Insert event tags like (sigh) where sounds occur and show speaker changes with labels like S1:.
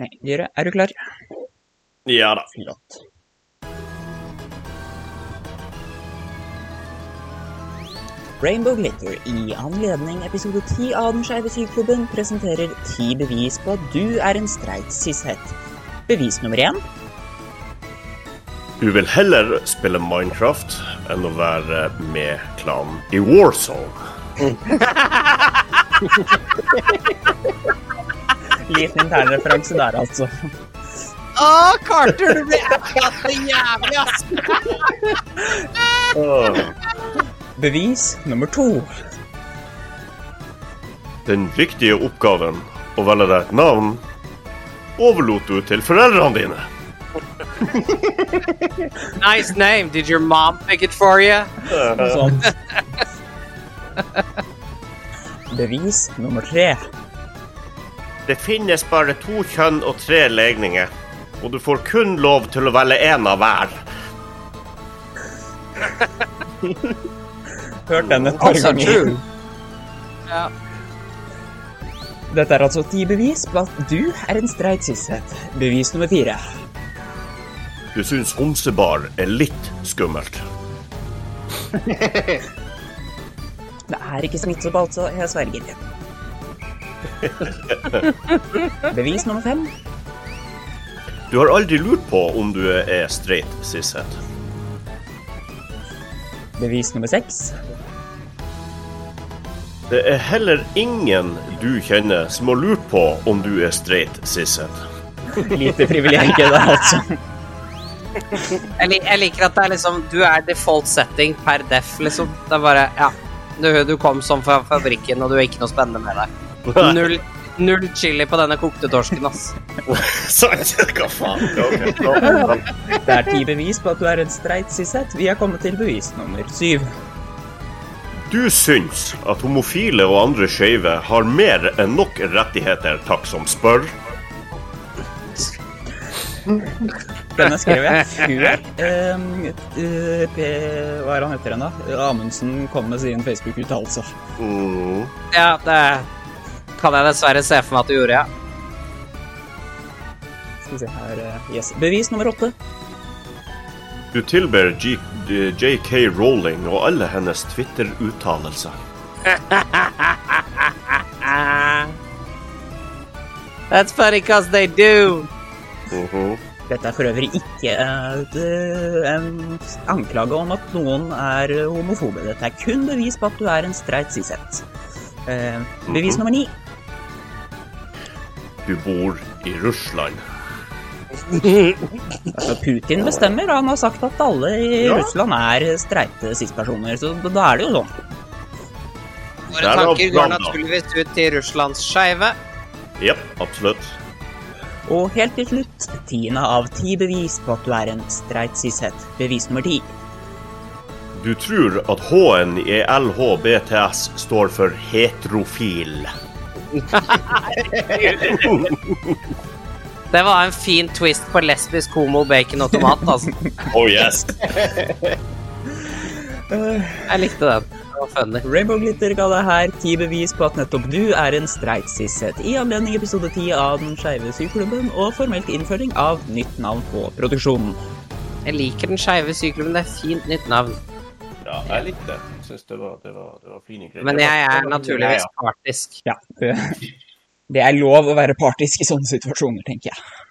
S1: Nei, Dyre, er du klar?
S2: Ja da.
S1: Flott. Rainbow Glitter i anledning episode 10 av Den skeive side-klubben presenterer ti bevis på at du er en streit sisshet. Bevis nummer én
S2: Du vil heller spille Minecraft enn å være med klanen i Warzone.
S1: Liten intern referanse der, altså.
S3: Å, Ah, Carter, du blir ævla så jævlig, ass!
S2: Åh.
S1: Bevis nummer to
S2: Den viktige oppgaven, å velge deg et navn, overlot du til foreldrene dine.
S3: Nice name. Did your mom pick it for you?
S1: Noe
S2: Ah.
S1: sånt. Bevis nummer tre
S2: Det finnes bare to kjønn og tre legninger, og du får kun lov til å velge én av hver.
S1: Hørt den et par ganger.
S3: Ja.
S1: Dette er altså ti bevis på at du er en streit sisshet. Bevis nummer fire.
S2: Du syns homsebar er litt skummelt.
S1: Det er ikke smittsomt, altså. Jeg sverger. Bevis nummer fem.
S2: Du har aldri lurt på om du er streit sisshet.
S1: Bevis nummer seks.
S2: Det er heller ingen du kjenner som har lurt på om du er streit sisshet.
S1: Lite privilegium, det, altså.
S3: Jeg, lik, jeg liker at det er liksom Du er default setting per def, liksom. Det er bare Ja. Du, du kom som fra fabrikken, og du er ikke noe spennende med (laughs) deg.
S2: (laughs)
S3: Null, null chili på denne kokte torsken, ass.
S2: Sant? Hva faen? Ok.
S1: Det er ti bevis på at du er en streit sisshet. Vi er kommet til bevis nummer syv.
S2: Du syns at homofile og andre skeive har mer enn nok rettigheter, takk som spør.
S1: Denne skrev jeg før ehm, eh, P- Hva er han heter igjen, da? Amundsen kom med sin Facebook-uttalelse.
S2: Mm.
S3: Ja, det kan jeg dessverre se for meg at du gjorde, ja.
S1: Skal vi se her eh, yes. Bevis nummer åtte.
S2: Du tilber G- eh, JK Rowling og alle hennes Twitter-uttalelser.
S3: Ah. That's funny cause they do.
S2: Mhm.
S1: Dette er for øvrig ikke eh, det- en anklage om at noen er homofobe. Dette er kun bevis på at du er en streit sishet. Eh, bevis nummer ni.
S2: Du bor i Russland.
S1: Altså, Putin bestemmer, og han har sagt at alle i
S2: Ja.
S1: Russland er streite cis-personer. Så da er det jo sånn.
S3: Våre
S2: Der er
S3: tanker går
S2: Oppland, da.
S3: naturligvis ut til Russlands skeive.
S2: Jepp, absolutt.
S1: Og helt til slutt, tiende av ti bevis på at du er en streit sishet. Bevis nummer ti.
S2: Du tror at H-en i LHBTS står for heterofil.
S3: Det var en fin twist på lesbisk homo, bacon og tomat, altså.
S2: (laughs) Oh yes.
S3: Jeg likte den. Det var funny.
S1: Rainbow Glitter ga deg her ti bevis på at nettopp du er en streit sishet. I anledning episode ti av Den skeive syklubben og formelt innføring av nytt navn på produksjonen.
S3: Jeg liker den skeive syklubben. Det er fint nytt navn.
S2: Ja, jeg likte det. Syns det var, det var, det var fine greier.
S3: Men jeg er naturligvis partisk.
S1: Ja. eh, Det er lov å være partisk i sånne situasjoner, tenker jeg.